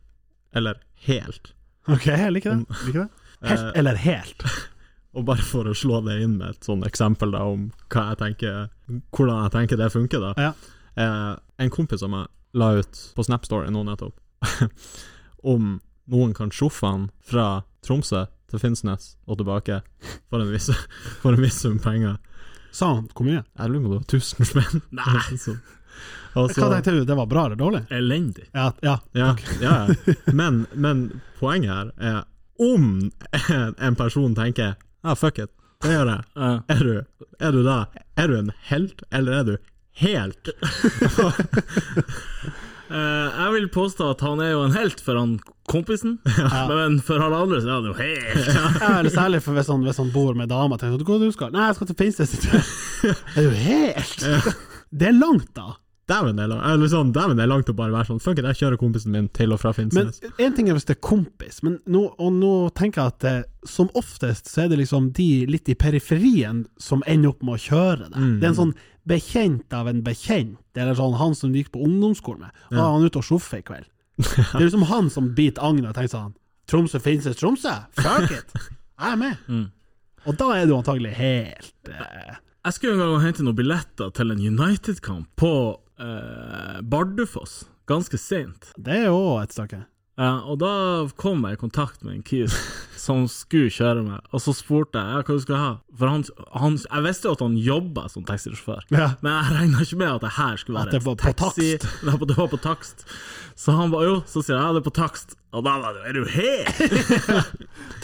D: eller helt. Eh.
B: ok, jeg liker det. Liker det. Helt eller helt.
D: Og bare for å slå det inn med et sånn eksempel da, om hva jeg tenker, hvordan jeg tenker det funker, da.
B: Ja.
D: Eh, en kompis av meg la ut på Snapstory nå nettopp om noen kan sjoffe han fra Tromsø til Finnsnes og tilbake for en viss, for en viss sum penger.
B: Sa han hvor mye?
D: Jeg lurer på om det var 1000 spenn.
C: Nei.
D: Så- og
B: Hva
D: så-
B: tenkte du, det var bra eller dårlig?
C: Elendig.
B: Ja, ja.
D: Ja, ja, ja. Men, men poenget her er om en person tenker ah, fuck it, det gjør jeg.
C: Ja.
D: Er du, er du da Er du en helt, eller er du helt?
C: Eh, jeg vil påstå at han er jo en helt for han kompisen, men for alle andre så er han jo helt
B: Ja, eller særlig for hvis han, hvis han bor med dama. Tenker du hva du skal? Nei, jeg skal til Finnsnes i tur. Det er jo helt Det er langt, da.
D: Dæven, det er lang- eller sånn, dæven, det er langt å bare være sånn Fuck it, jeg kjører kompisen min til og fra
B: Men
D: Finnsnes.
B: én ting er hvis det er kompis, men nå, og nå tenker jeg at eh, som oftest så er det liksom de litt i periferien som ender opp med å kjøre det. Det er en sånn bekjent av en bekjent, eller sånn han som du gikk på ungdomsskolen med. Ja. Han er ute og sjoffer i kveld. Det er liksom han som biter agnet og tenker sånn Tromsø, Finnsnes, Tromsø! Fuck it! Jeg er med! Og da er du antagelig helt eh,
C: Jeg skulle en gang hente noen billetter til en United-kamp på eh, Bardufoss, ganske seint.
B: Det er jo et stykke.
C: Ja, og da kom jeg i kontakt med en kis som skulle kjøre meg, og så spurte jeg ja, hva du skulle ha. For han, han, jeg visste jo at han jobba som taxisjåfør,
B: Ja.
C: men jeg regna ikke med at det her skulle
B: At
C: være
B: det var på takst.
C: Nei, det var på takst. Så han ba jo, så sier jeg ja, det er på takst, og da var det jo er du helt?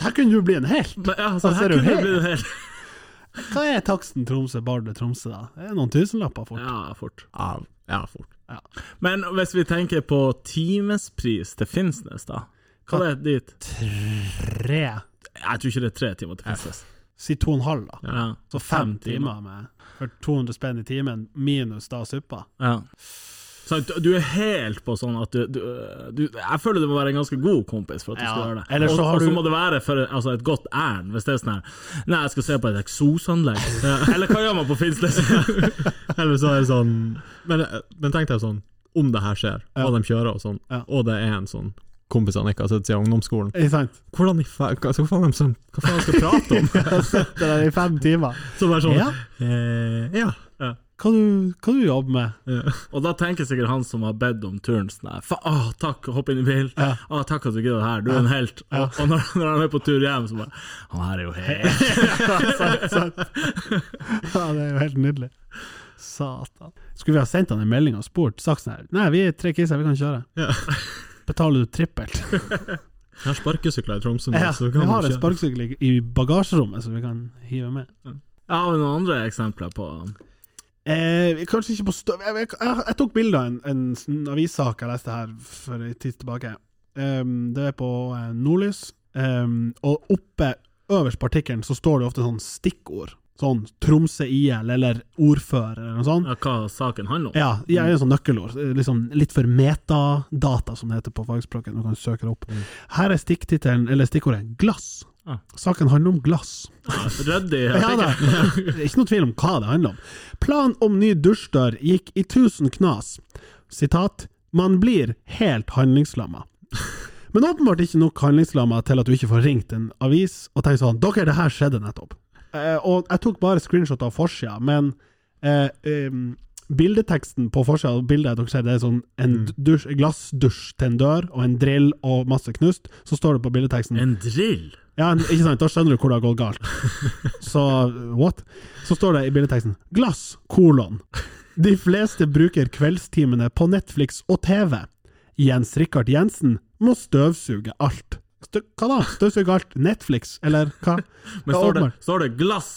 B: Der kunne du bli en helt!
C: Men, ja,
B: Da
C: så
B: ser Altså,
C: her
B: du
C: kunne
B: helt.
C: det blitt helt.
B: Hva er taksten Tromsø-Bardu-Tromsø, da? Det er noen tusenlapper fort.
C: Ja, fort.
D: Ja, ja, fort.
C: Men hvis vi tenker på timespris til Finnsnes, da. Hva er det dit?
B: Tre.
C: Jeg tror ikke det er tre timer til Finnsnes.
B: Si to og en halv, da.
C: Ja.
B: Så fem timer med for 200 spenn i timen, minus da suppa.
C: Ja. Så du, du er helt på sånn at du, du, du Jeg føler du må være en ganske god kompis for at du
B: Ja,
C: skal gjøre det.
B: eller så
C: og,
B: har
C: og så
B: du-
C: må det være for altså, et godt ærend, hvis det er sånn her Nei, jeg skal se på et eksosanlegg. eller hva gjør man på Finnsnes?
D: Eller så er det sånn Men, men tenk deg sånn, om det her skjer, og de kjører og sånn,
B: Ja.
D: og det er en sånn kompis han ikke har sett siden ungdomsskolen
B: Ikke sant?
D: Hvordan i faen Hva hva faen de som- hva faen skal prate om?
B: Sitter der i fem timer.
D: Så bare sånn
B: Ja.
D: Eh, ja.
B: Hva du, hva du jobber med?
C: og da tenker sikkert han som har bedt om turen sånn her Fa Å, takk, hopp inn i bil.
B: Ja.
C: Å, takk at du gidder det her, du er en helt. Og, og når, når han er på tur hjem, så bare Han her er jo helt
B: Ja, det er jo helt nydelig. Satan. Skulle vi ha sendt han en melding og spurt Saksen her? Nei, vi er tre kisser, vi kan kjøre.
D: Ja.
B: Betaler du trippelt?
D: Jeg har sparkesykler i Tromsø nå,
B: Ja,
D: så
B: vi
D: kan
B: har
D: du
B: en
D: kjøre.
B: sparkesykkel i- i bagasjerommet som vi kan hive med.
C: Jeg har noen andre eksempler på
B: Eh, kanskje ikke på støv... Jeg, jeg, jeg, jeg tok bilde av en, en sånn avissak jeg leste her for en tid tilbake. Ehm, det er på eh, Nordlys, Ehm, og oppe øverst på artikkelen så står det ofte sånn stikkord. Sånn Tromsø IL eller ordfører eller noe sånt.
C: ja, hva saken handler om.
B: Ja, jeg er jo sånn nøkkelord. Liksom litt for metadata, som det heter på fagspråket. Når du kan søke det opp. Her er stikktittelen, eller stikkordet, glass.
C: Ah.
B: Saken handler om glass.
C: Ryddig.
B: Ja da. Det er Ikke noe tvil om hva det handler om. Plan om ny dusjdør gikk i tusen knas. Sitat Man blir helt handlingslamma. Men åpenbart ikke nok handlingslamma til at du ikke får ringt en avis og tenkt sånn Dere, det her skjedde nettopp. Eh, og jeg tok bare screenshot av forsida, men eh, em, bildeteksten på forsida av bildet dere ser, det er sånn en dusj, glassdusj til en dør og en drill og masse knust. Så står det på bildeteksten
C: En drill?
B: ja, ikke sant? Da skjønner du hvor det har gått galt. Så what? Så står det i bildeteksten 'Glass, kolon'. De fleste bruker kveldstimene på Netflix og TV. Jens Rikard Jensen må støvsuge alt. Stø hva da? Støvsuge alt? Netflix, eller hva?
C: Men
B: Ja,
C: står det,
B: åpenbart.
C: står det glass,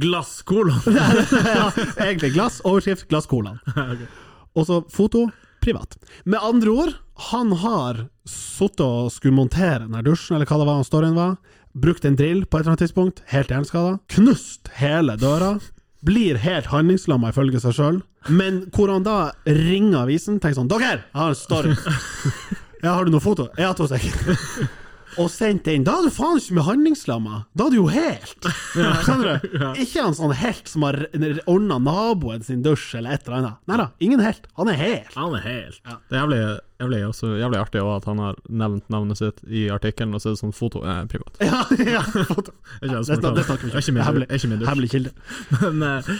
C: glasskolon?
B: ja, egentlig glass, overskrift glass, kolon. Og så foto privat. Med andre ord, han har sittet og skulle montere den her dusjen, eller hva det var han storyen var, brukt en drill på et eller annet tidspunkt, helt hjerneskada, knust hele døra, blir helt handlingslamma ifølge seg sjøl, men hvor han da ringer avisen, tenker sånn 'Dere, jeg har en story'. Ja, har du noe foto? Ja, to sek. og sendt den, da er du faen ikke med handlingslamma! Da er du jo helt! Skjønner du? Ikke han sånn helt som har ordna naboen sin dusj eller et eller annet. Nei da, ingen helt. Han er helt.
C: Han er helt
D: Det er jævlig, jævlig, også, jævlig artig også at han har nevnt navnet sitt i artikkelen, og så er det sånn foto eh, privat.
B: Ja, ja.
D: Det er ikke jeg
B: Det,
D: som
B: snak- det
D: betaler.
B: snakker vi
D: Det
B: ikke
D: er
B: om.
D: ikke min-
B: Hemmelig,
D: det er ikke min dusj.
B: hemmelig kilde.
C: Men eh,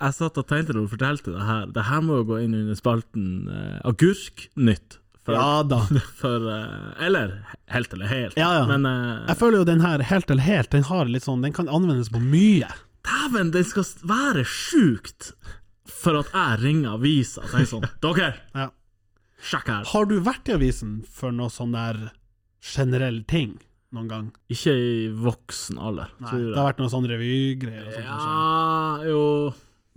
C: jeg satt og tenkte da du fortalte det her Det her må jo gå inn under spalten eh, agurknytt. For,
B: Ja da.
C: for eh, Eller helt eller helt.
B: Ja, ja.
C: Men eh,
B: Jeg føler jo den her helt eller helt, den har litt sånn Den kan anvendes på mye.
C: dæven, det skal s- være sjukt for at jeg ringer avisa og tenker sånn Dere,
B: Ja.
C: sjekk her.
B: Har du vært i avisen for noe sånn der generell ting noen gang?
C: Ikke i voksen alder,
B: Nei,
C: tror
B: det
C: jeg.
B: har vært noen sånn revygreier og sånt kanskje.
C: Ja, jo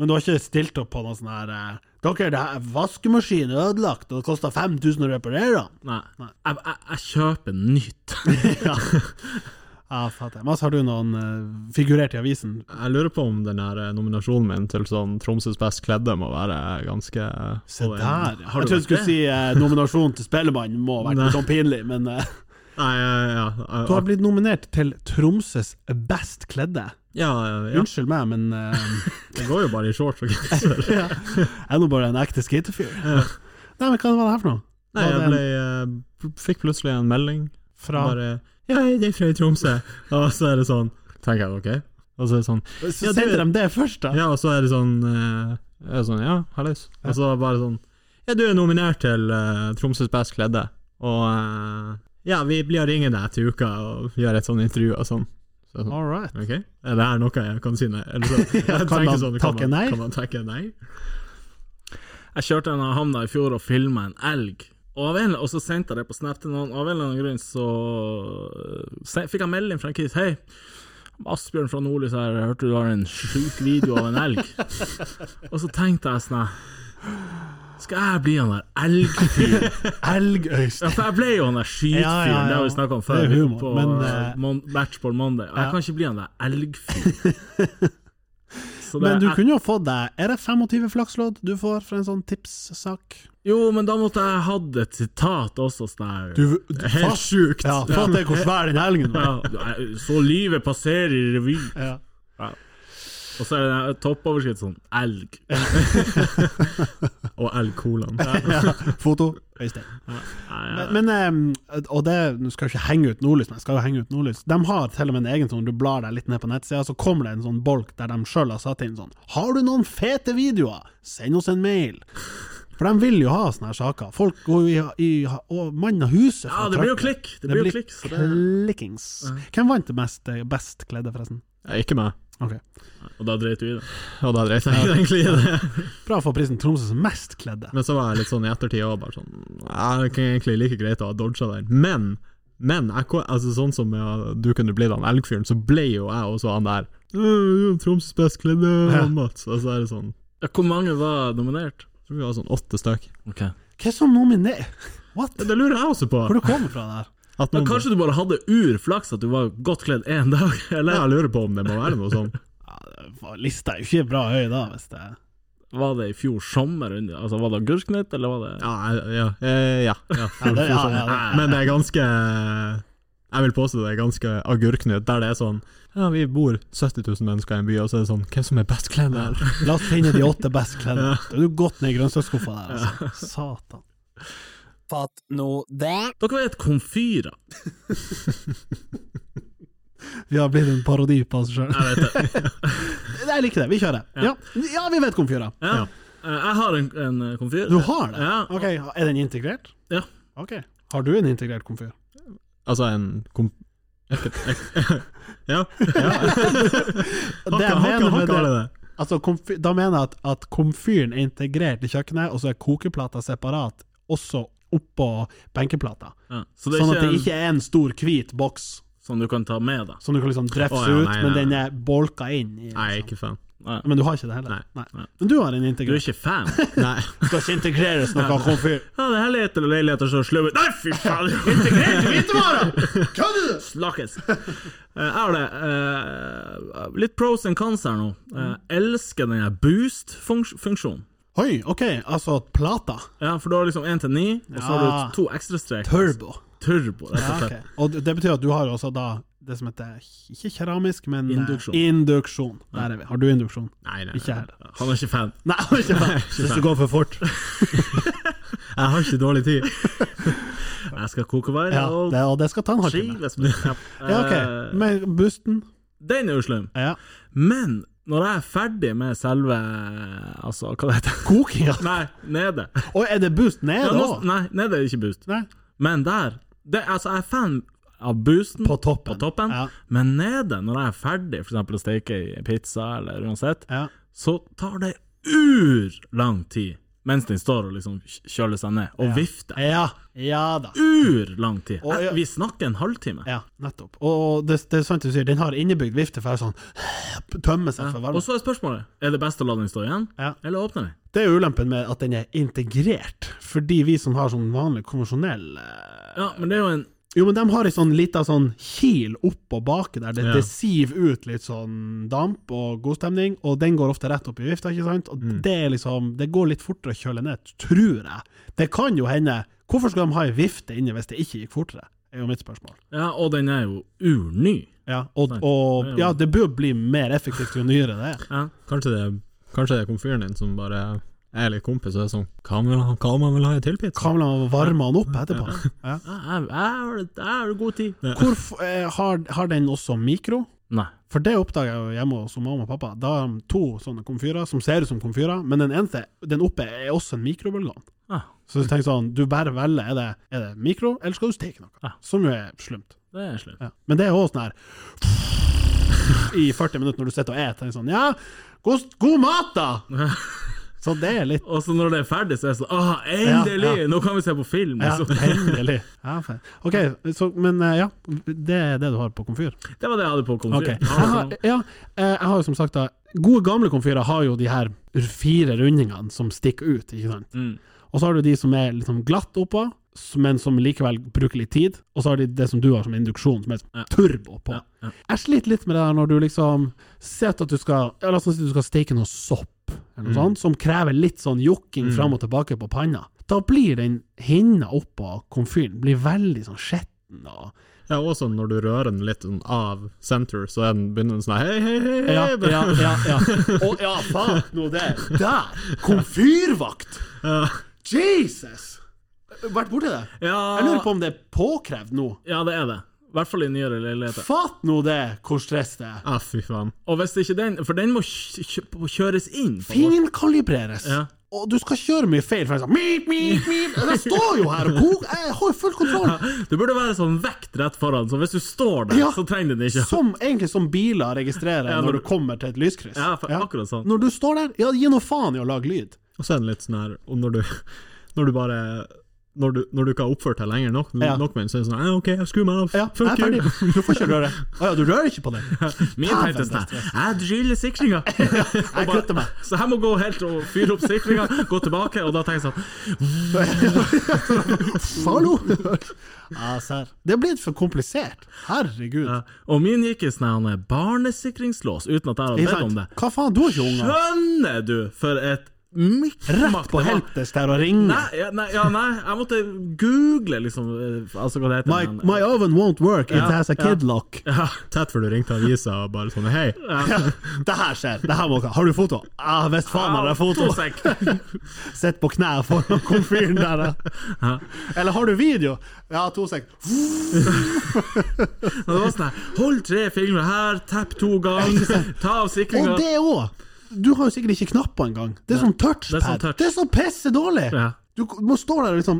B: Men du har ikke stilt opp på noe sånn her eh, Dere, det her vaskemaskinen er ødelagt, og det koster 5000 å reparere den.
C: Nei. Jeg, jeg, jeg kjøper nytt.
B: ja. ja, fatter. Mads, har du noen eh, figurert i avisen?
D: Jeg lurer på om den her eh, nominasjonen min til sånn Tromsøs best kledde må være ganske eh,
B: Se
D: på en-
B: der, ja.
C: har
B: Jeg trodde
C: du vært
B: du skulle
C: det?
B: si eh, nominasjon til Spellemann må ha vært litt sånn pinlig, men eh,
D: Nei, eh, ja. eh,
B: Du har blitt nominert til Tromsøs best kledde.
D: ja, eh, ja.
B: Unnskyld meg, men eh,
D: Det går jo bare i shorts og genser.
B: ja. Jeg er nå bare en ekte skatefyr. Nei, men hva var det her for noe?
D: Nei,
B: Var det
D: jeg
B: en-
D: ble, eh, fikk plutselig en melding.
B: Fra
D: Bare Ja, jeg er fra Tromsø. Og så er det sånn Tenker jeg, OK? Og så er det sånn
B: Så
D: Ja, du-
B: sendte de det først, da?
D: Ja, og så er det sånn eh, er det sånn, Ja, hallois. Og så bare sånn Ja, du er nominert til eh, Tromsøs best kledde, og eh, Ja, vi blir å ringe deg til uka og gjøre et sånt intervju og sånn. Så jeg sånn
B: All right.
D: OK, er det her noe jeg kan si nei? Eller så, jeg
B: Ja, kan
D: tenker
B: man
D: sånn,
B: takke nei?
D: Kan man takke nei?
C: Jeg kjørte en av hamna i fjor og filma en elg. Og, av en, og så sendte jeg det på Snap til noen, og av en eller annen grunn så øh, se, fikk jeg melding fra en kis. Hei, Asbjørn fra Nordlys her, jeg hørte du har en sjuk video av en elg. og så tenkte jeg sånn her, Skal jeg bli han der elgfyren? Ja,
B: Elgøystein.
C: for jeg ble jo han der skytfyren,
B: Ja, ja, ja.
C: det har vi snakka om før.
B: Det er humor,
C: på
B: men,
C: eh,
B: eh,
C: mon Matchball Monday. Og
B: ja.
C: Jeg kan ikke bli han der elgfyren. Så det-
B: Men du
C: jeg-
B: kunne jo fått deg Er det 25 flakslodd du får for en sånn tipssak?
C: Jo, men da måtte jeg hatt et sitat også, sånn her.
D: Helt sjukt!
B: Ja, fatt det hvor svær den elgen var.
C: Ja, jeg- så livet passerer i revy.
B: Ja.
C: Og så er det en toppoverskrift sånn elg.
D: Og L. Kolan.
B: Foto. Øystein. Men, men em, og det Nå skal jeg ikke henge ut Nordlys, men jeg skal jo henge ut Nordlys. De har til og med en egen sånn du blar deg litt ned på nettsida, så kommer det en sånn bolk der de sjøl har satt inn sånn Har du noen fete videoer? Send oss en mail! For de vil jo ha sånne her saker. Folk går jo i, i og mann av huset. for
C: Ja,
B: å
C: det blir jo
B: trykke.
C: klikk. Det
B: Det
C: blir jo
B: blir
C: klikk. Så det,
B: klikkings. Hvem vant det mest, eh, best kledde, forresten?
D: Ja, ikke meg.
B: Ok.
C: og da dreit vi i det.
D: Og da dreit jeg egentlig i det.
B: Bra å få prisen Tromsøs mest kledde.
D: Men så var jeg litt sånn i ettertid òg, bare sånn ja, Det er egentlig like greit å ha dodga den. Men, men jeg, ko- altså, sånn som ja, du kunne bli den elgfyren, så ble jo jeg også han der «Øh, Tromsøs best kledde,
B: Ja.
D: han Mats. Og så er det sånn
C: Ja, Hvor mange var nominert?
D: jeg Tror vi var sånn åtte stykk.
C: Ok.
B: Hva som nominer... What?
D: Ja, Det lurer jeg også på.
B: Hvor det kommer fra, det her?
D: At
C: Men
D: noen,
C: kanskje du bare hadde urflaks at du var godt kledd én dag,
D: ja,
C: eller
D: jeg lurer på om det må være noe sånn.
B: Faen, Lista er jo ikke bra høy da, hvis det
C: var det i fjor sommer? under- Altså, Var det agurknytt, eller var det
D: Ja, jeg- ja, eh, ja, ja.
B: Ja, det- ja, ja, det-
D: Men det er ganske Jeg vil påstå det er ganske agurknytt, der det er sånn Ja, vi bor 70 000 mennesker i en by, og så er det sånn Hvem som er best kledd her?
B: La oss finne de åtte best kledde. Da er du godt ned i grønnsaksskuffa der, altså. Satan.
E: Fatt nå det.
C: Dere vet komfyrer?
B: Vi har blitt en parodi på oss sjøl.
C: Jeg vet det.
B: Jeg liker det, vi kjører. Ja, ja vi vet komfyra.
C: Ja. Eh, Jeg har en, en eh, komfyr.
B: Du har det?
C: Ja.
B: Ok, Er den integrert?
C: Ja.
B: Ok. Har du en integrert komfyr?
D: Altså en komp... Ja,
B: Det jeg mener
D: Hakka- hakka-
B: med
D: hakka
B: det,
D: alle det.
B: altså komfy, da mener jeg at, at komfyren er integrert i kjøkkenet, og så er kokeplata separat, også oppå benkeplata.
C: Ja. Så det er
B: Sånn at det
C: ikke en
B: ikke er en stor, hvit boks
C: som du kan ta med deg.
B: som du kan liksom drefse
D: Å, ja, nei,
B: ut, men
D: nei,
B: den
D: nei.
B: er bolka inn. I,
D: Nei, ikke fan.
C: Nei.
B: Men du har ikke det heller?
D: Nei.
B: Men du har en
C: Du er
B: integrert.
C: ikke fan?
D: Nei.
B: skal ikke integreres noe komfyr.
C: Ja, det her leter og leiligheter så sløve Nei, fy faen! Integrert hvitevarer! Kødder du?! Snakkes. Eh, Jeg har det. eh, litt pros and cons her nå. Eh, elsker den her boost-funksjonen.
B: Oi, ok, altså plata.
C: Ja, for du har liksom én til ni, og så har
B: Ja.
C: du to ekstrastrek.
B: Turbo.
C: turbo, rett
B: Ja,
C: og slett.
B: ok. Og det- det betyr at du har jo også da det som heter ikke keramisk, men eh,
C: Induksjon.
B: induksjon. Der er vi. Har du induksjon?
D: Nei, nei,
B: Ikke
D: nei.
B: her.
C: Han er ikke fan.
B: Nei, ikke det. Hvis du går for fort.
D: Jeg har ikke dårlig tid.
C: Jeg skal koke varer
B: Ja,
C: og
B: det, og det skal ta en halvtime.
C: skiles med knapp.
B: Ja,
C: Eh,
B: ok. Men busten
C: Den er jo slum.
B: Ja.
C: Men når jeg er ferdig med selve Altså, hva det heter
B: Kokinga.
C: Nei, nede.
B: Og er det boost ned
C: Ja, nå,
B: òg?
C: nei, nede er det ikke boost.
B: Nei.
C: Men der det, Altså, jeg er fan av boosten
B: På toppen.
C: på toppen,
B: Ja.
C: men nede, når jeg er ferdig for eksempel å steke i pizza eller uansett,
B: Ja.
C: så tar det urlang tid mens den står og liksom kj- kjøler seg ned og vifter.
B: ja. Ja da.
C: Urlang tid!
B: Og-
C: Jeg, vi snakker en halvtime.
B: Ja, nettopp. Og det, det er sant du sier, den har innebygd vifte for å sånn tømme seg for
C: Og
B: varme.
C: så er spørsmålet er det best å la den stå igjen,
B: Ja.
C: eller åpne den?
B: Det er jo ulempen med at den er integrert, fordi vi som har sånn vanlig konvensjonell eh,
C: Ja, men det er jo en
B: Jo, men de har ei sånn lita sånn kil oppå baket der det,
D: Ja.
B: det siver ut litt sånn damp og god stemning, og den går ofte rett opp i vifta, ikke sant? Og det er liksom Det går litt fortere å kjøle ned, tror jeg. Det kan jo hende. Hvorfor skal de ha ei vifte inne hvis det ikke gikk fortere? er jo mitt spørsmål.
C: Ja, og den er jo urny.
B: Ja, og, og ja, det bør bli mer effektivt jo nyere det er.
C: Ja.
D: Kanskje det, kanskje det er komfyren din som bare er litt kompis og er sånn Hva om han- hva om han vil ha i til pizza?
B: Kamla varme han opp etterpå. Ja.
C: Jeg jeg- jeg har jeg har god tid.
B: Hvor, f- eh, har, har den også mikro?
C: Nei.
B: For det oppdaga jeg jo hjemme hos mamma og pappa. Da har de to sånne komfyrer som ser ut som komfyrer, men den eneste, den oppe, er også en mikrobølgeovn.
C: Ah,
B: Så du tenker sånn, du bare velger, er det, er det mikro, eller skal du steke noe?
C: Ja.
B: Som jo er slumt.
C: det er slutt.
B: Ja. Men det er òg sånn her I 40 minutter når du sitter og spiser, tenker sånn Ja, god, god mat, da! Så det er litt
C: Og så når det er ferdig, så er det sånn Åh, endelig!
B: Ja, ja.
C: Nå kan vi se på film!
B: ja,
C: Så,
B: Endelig. Ja, faen. OK, så, men eh, ja, det er det du har på komfyr?
C: det var det jeg hadde på
B: Ok.
C: konfyr.
B: Jeg har, ja, eh, jeg har jo som sagt da Gode gamle komfyrer har jo de her fire rundingene som stikker ut, ikke sant?
C: Mm.
B: Og så har du de som er liksom glatt oppå, s- men som likevel bruker litt tid. Og så har de det som du har som induksjon, som er
C: Ja.
B: turbo på.
C: Ja, ja.
B: Jeg sliter litt med det der når du liksom ser at du skal ja, La oss si du skal steke noe sopp, eller noe
C: Mm.
B: sånt, som krever litt sånn jokking fram og tilbake på panna. Da blir den hinna oppå komfyren blir veldig sånn skitten og
D: Ja, også når du rører den litt sånn av senter, så er den begynner den sånn hei, hei, hei, hei.
B: Ja,
D: bare-
B: ja, ja. ja. Eh, Å, ja, faen nå det. Der! Komfyrvakt!
D: Ja.
B: Jesus! Vært borti det? Jeg lurer
C: Ja,
B: på om det er påkrevd nå.
C: ja, det er det. I hvert fall i nyere leiligheter.
B: Fatt nå det, hvor stress det er.
D: Ah, fy faen.
C: Og hvis ikke den For den må kj- kj- kjøres inn. på en måte.
B: Finkalibreres.
C: Ja.
B: Og du skal kjøre mye feil. For jeg, sånn, mip, mip, mip. jeg står jo her og koker! Jeg har jo full kontroll!
C: Det burde være sånn vekt rett foran, så hvis du står der,
B: Ja.
C: så trenger den ikke.
B: Som, egentlig som biler registrerer
C: Ja, når
B: når du
C: du-
B: kommer til et lyskryss.
C: Ja, for akkurat sånn.
B: Når du står der, ja, gi nå faen i å lage lyd.
D: Og så er den litt sånn her, og når du, når du bare når du, når du ikke har oppført deg lenger nok,
B: Ja.
D: nok med den, så er det sånn eh, OK, jeg skrur meg av.
B: Ja, jeg
D: Fuck
B: er
D: you.
B: ferdig. Du får ikke røre. Å ja, du rører ikke på den?
C: Min
B: Faen,
C: tenkte sånn
B: det er
C: her, Jeg driller sikringa!
B: Jeg kutter meg.
C: Så jeg må gå helt og fyre opp sikringa, gå tilbake, og da tenker jeg sånn
B: Hallo! Ja, serr. Det er blitt for komplisert. Herregud.
C: ja. Og min gikk i sånn her barnesikringslås, uten at jeg hadde
B: Ikke
C: bedt om
B: sant?
C: det.
B: Hva faen, du har ikke unger?
C: Skjønner du for et
B: Rett
C: mikkmakk
B: på heltes der og ringe.
C: Nei, ja, nei, ja, nei, jeg måtte google, liksom eh, Altså, hva det heter
B: My,
C: men-
B: my oven won't work, it
C: Ja,
B: has a kid lock.
C: ja,
D: Tett før du ringte avisa og bare sånn hei.
B: Det her skjer. Det her må Har du foto? Ah, visst faen har jeg foto!
C: Fotosekk.
B: Sitt på knær foran komfyren der. ja. Eller har du video? Ja, to sek.
C: Og det var sånn her Hold tre fingre her, tapp to ganger, ta av
B: Og
C: sikringa
B: det òg! Du har jo sikkert ikke knapper engang. Det er sånn
C: er sånn
B: touchpad.
C: touch.
B: Det er så pisse dårlig!
C: Ja.
B: Du må stå der og liksom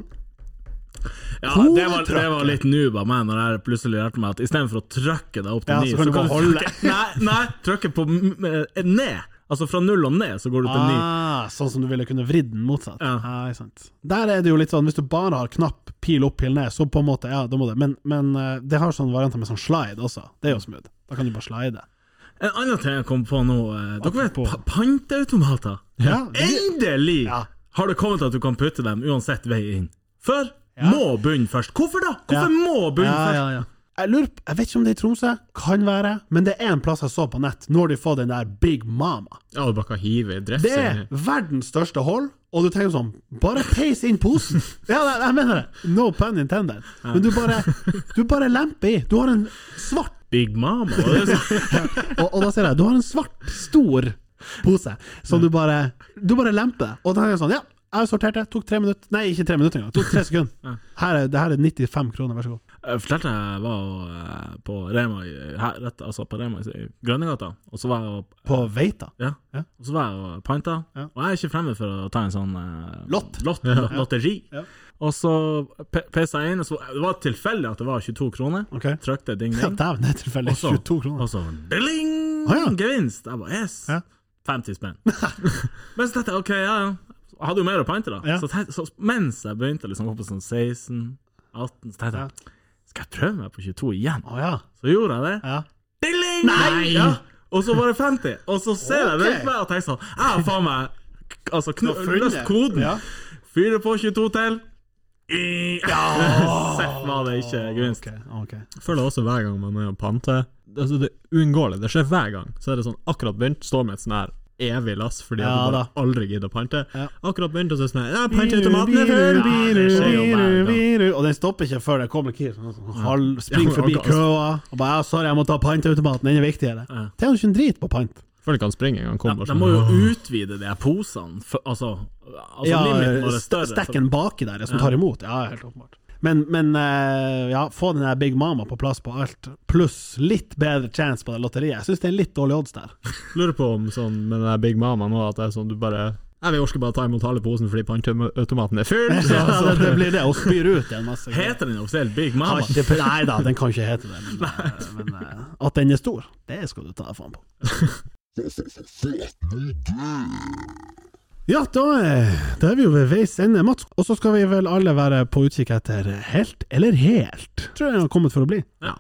C: Ja, det var, det var litt noob av meg når jeg plutselig lærte meg at istedenfor å trykke deg opp til
B: Ja,
C: ni,
B: så kan du bare holde.
C: trykke Nei, nei trykke på m- eh, ned. Altså fra null og ned, så går du til ni.
B: Ah, sånn som du ville kunne vridd den motsatt.
C: Ja.
B: Ah, ikke sant. Der er det jo litt sånn, hvis du bare har knapp, pil opp, pil ned, så på en måte, ja, da må du Men, men eh, det har sånne varianter med sånn slide også. Det er
C: Mm.
B: jo smooth. Da kan du bare slide.
C: En annen ting jeg kom på nå eh, Dere vet
B: Apropos.
C: pa panteautomater?
B: Ja, det-
C: Endelig
B: Ja.
C: har det kommet at du kan putte dem uansett vei inn. Før må bunn først. Hvorfor da?
B: Ja.
C: Hvorfor må bunn
B: ja,
C: først?
B: ja, ja. Jeg lurer på, jeg vet ikke om det er i Tromsø, kan være, men det er en plass jeg så på nett. Nå har de fått den der Big Mama.
D: Ja, du bare kan hive dress
B: Det er
D: inn i.
B: verdens største hold, og du tenker sånn Bare peis inn posen! Ja, jeg, jeg mener det. No pun intended. Men du bare, du bare lemper i. Du har en svart
C: Big Mama. var det sånn?
B: og, og da ser jeg, du har en svart, stor pose som du bare Du bare lemper. Og da er jeg sånn, ja, jeg sorterte, tok tre minutter Nei, ikke tre minutter engang, tok tre sekunder. Her er, det her er 95 kroner, vær så god.
C: Jeg Eh, fortalte jeg var eh, på Rema i, her, rett, altså på Rema i Grønnegata, og så var jeg og-
B: På Veita.
C: ja.
B: Ja.
C: Og så var jeg og panta,
B: Ja.
C: og jeg er ikke fremme for å ta en sånn eh,
B: Lott.
C: lott lott- lotteri.
B: Ja.
C: Og så pe- pesa jeg inn, og så, det var tilfeldig at det var 22 kroner.
B: Ok.
C: Trykte ding,
B: Ja,
C: ding.
B: Dæven, det er tilfeldig.
C: Og så-
B: 22 kroner.
C: Og så ding,
B: Å, ja.
C: gevinst! Jeg bare yes!
B: Ja.
C: 50 spenn. Men så tenkte jeg ok, ja, ja. Jeg hadde jo mer å pante, da.
B: Ja.
C: Så, tenkte- så mens jeg begynte liksom å gå på sånn 16, 18, så tenkte jeg skal jeg prøve meg på 22 igjen?
B: Å ja.
C: Så gjorde jeg det.
B: ja.
C: Dilling! Nei! Ja. Og så var det 50, og så ser jeg
B: Ok.
C: rundt meg og tenker sånn Jeg har faen meg k- altså,
B: Du
C: knu,
B: har funnet.
C: løst koden.
B: Ja.
C: Fyrer på 22 til. Ja! Seff var det ikke gevinst.
B: Ok, ok.
D: Jeg føler også hver gang man er og panter altså, Det er uunngåelig. Det skjer hver gang. Så er det sånn akkurat begynt, står med et sånn her evig lass fordi at
B: Ja,
D: du bare
B: da.
D: aldri gidder å pante.
B: Ja.
D: Akkurat begynt, og så er det sånn her Ja, panteautomaten er full!
B: Biru,
D: Ja,
B: biru,
D: det skjer jo hver
B: biru,
D: gang.
B: biru. Og den stopper ikke før det kommer Kir. Sånn, sånn, halv-
D: Ja, altså.
B: Spring
D: men
B: forbi
D: organ-
B: køa. Og bare ja, 'sorry, jeg må ta pantautomaten, den er viktigere'.
C: Ja.
B: Tjener du ikke en drit på pant?
D: Føler ikke han springer engang.
C: De,
D: kommer
C: de
D: sånn,
C: må jo
D: «Åh».
C: utvide de her posene. For, altså, altså
B: Ja,
C: limiten vår er
B: st-
C: større.
B: stekken baki der som tar imot. Ja, helt åpenbart. Men, men eh, ja, få den der Big Mama på plass på alt, pluss litt bedre chance på det lotteriet. Jeg syns det er litt dårlig odds der.
D: Lurer på om sånn med den der Big Mama nå, at det er sånn du bare Nei, vi orker bare ta imot halve posen fordi panteautomaten er full! Så,
B: Ja,
D: så.
B: det, det blir det, og spyr ut igjen masse.
C: Heter den offisielt Big Mama?
B: Har ikke pe- Nei da, den kan ikke hete det. Men, eh, men eh, at den er stor, det skal du ta deg faen på. Ja, da, eh, da er vi jo ved veis ende, Mats. Og så skal vi vel alle være på utkikk etter helt eller helt. Tror jeg har kommet for å bli.
C: Ja.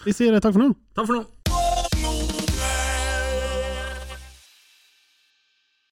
B: Vi sier eh, takk for nå.
C: Takk for nå.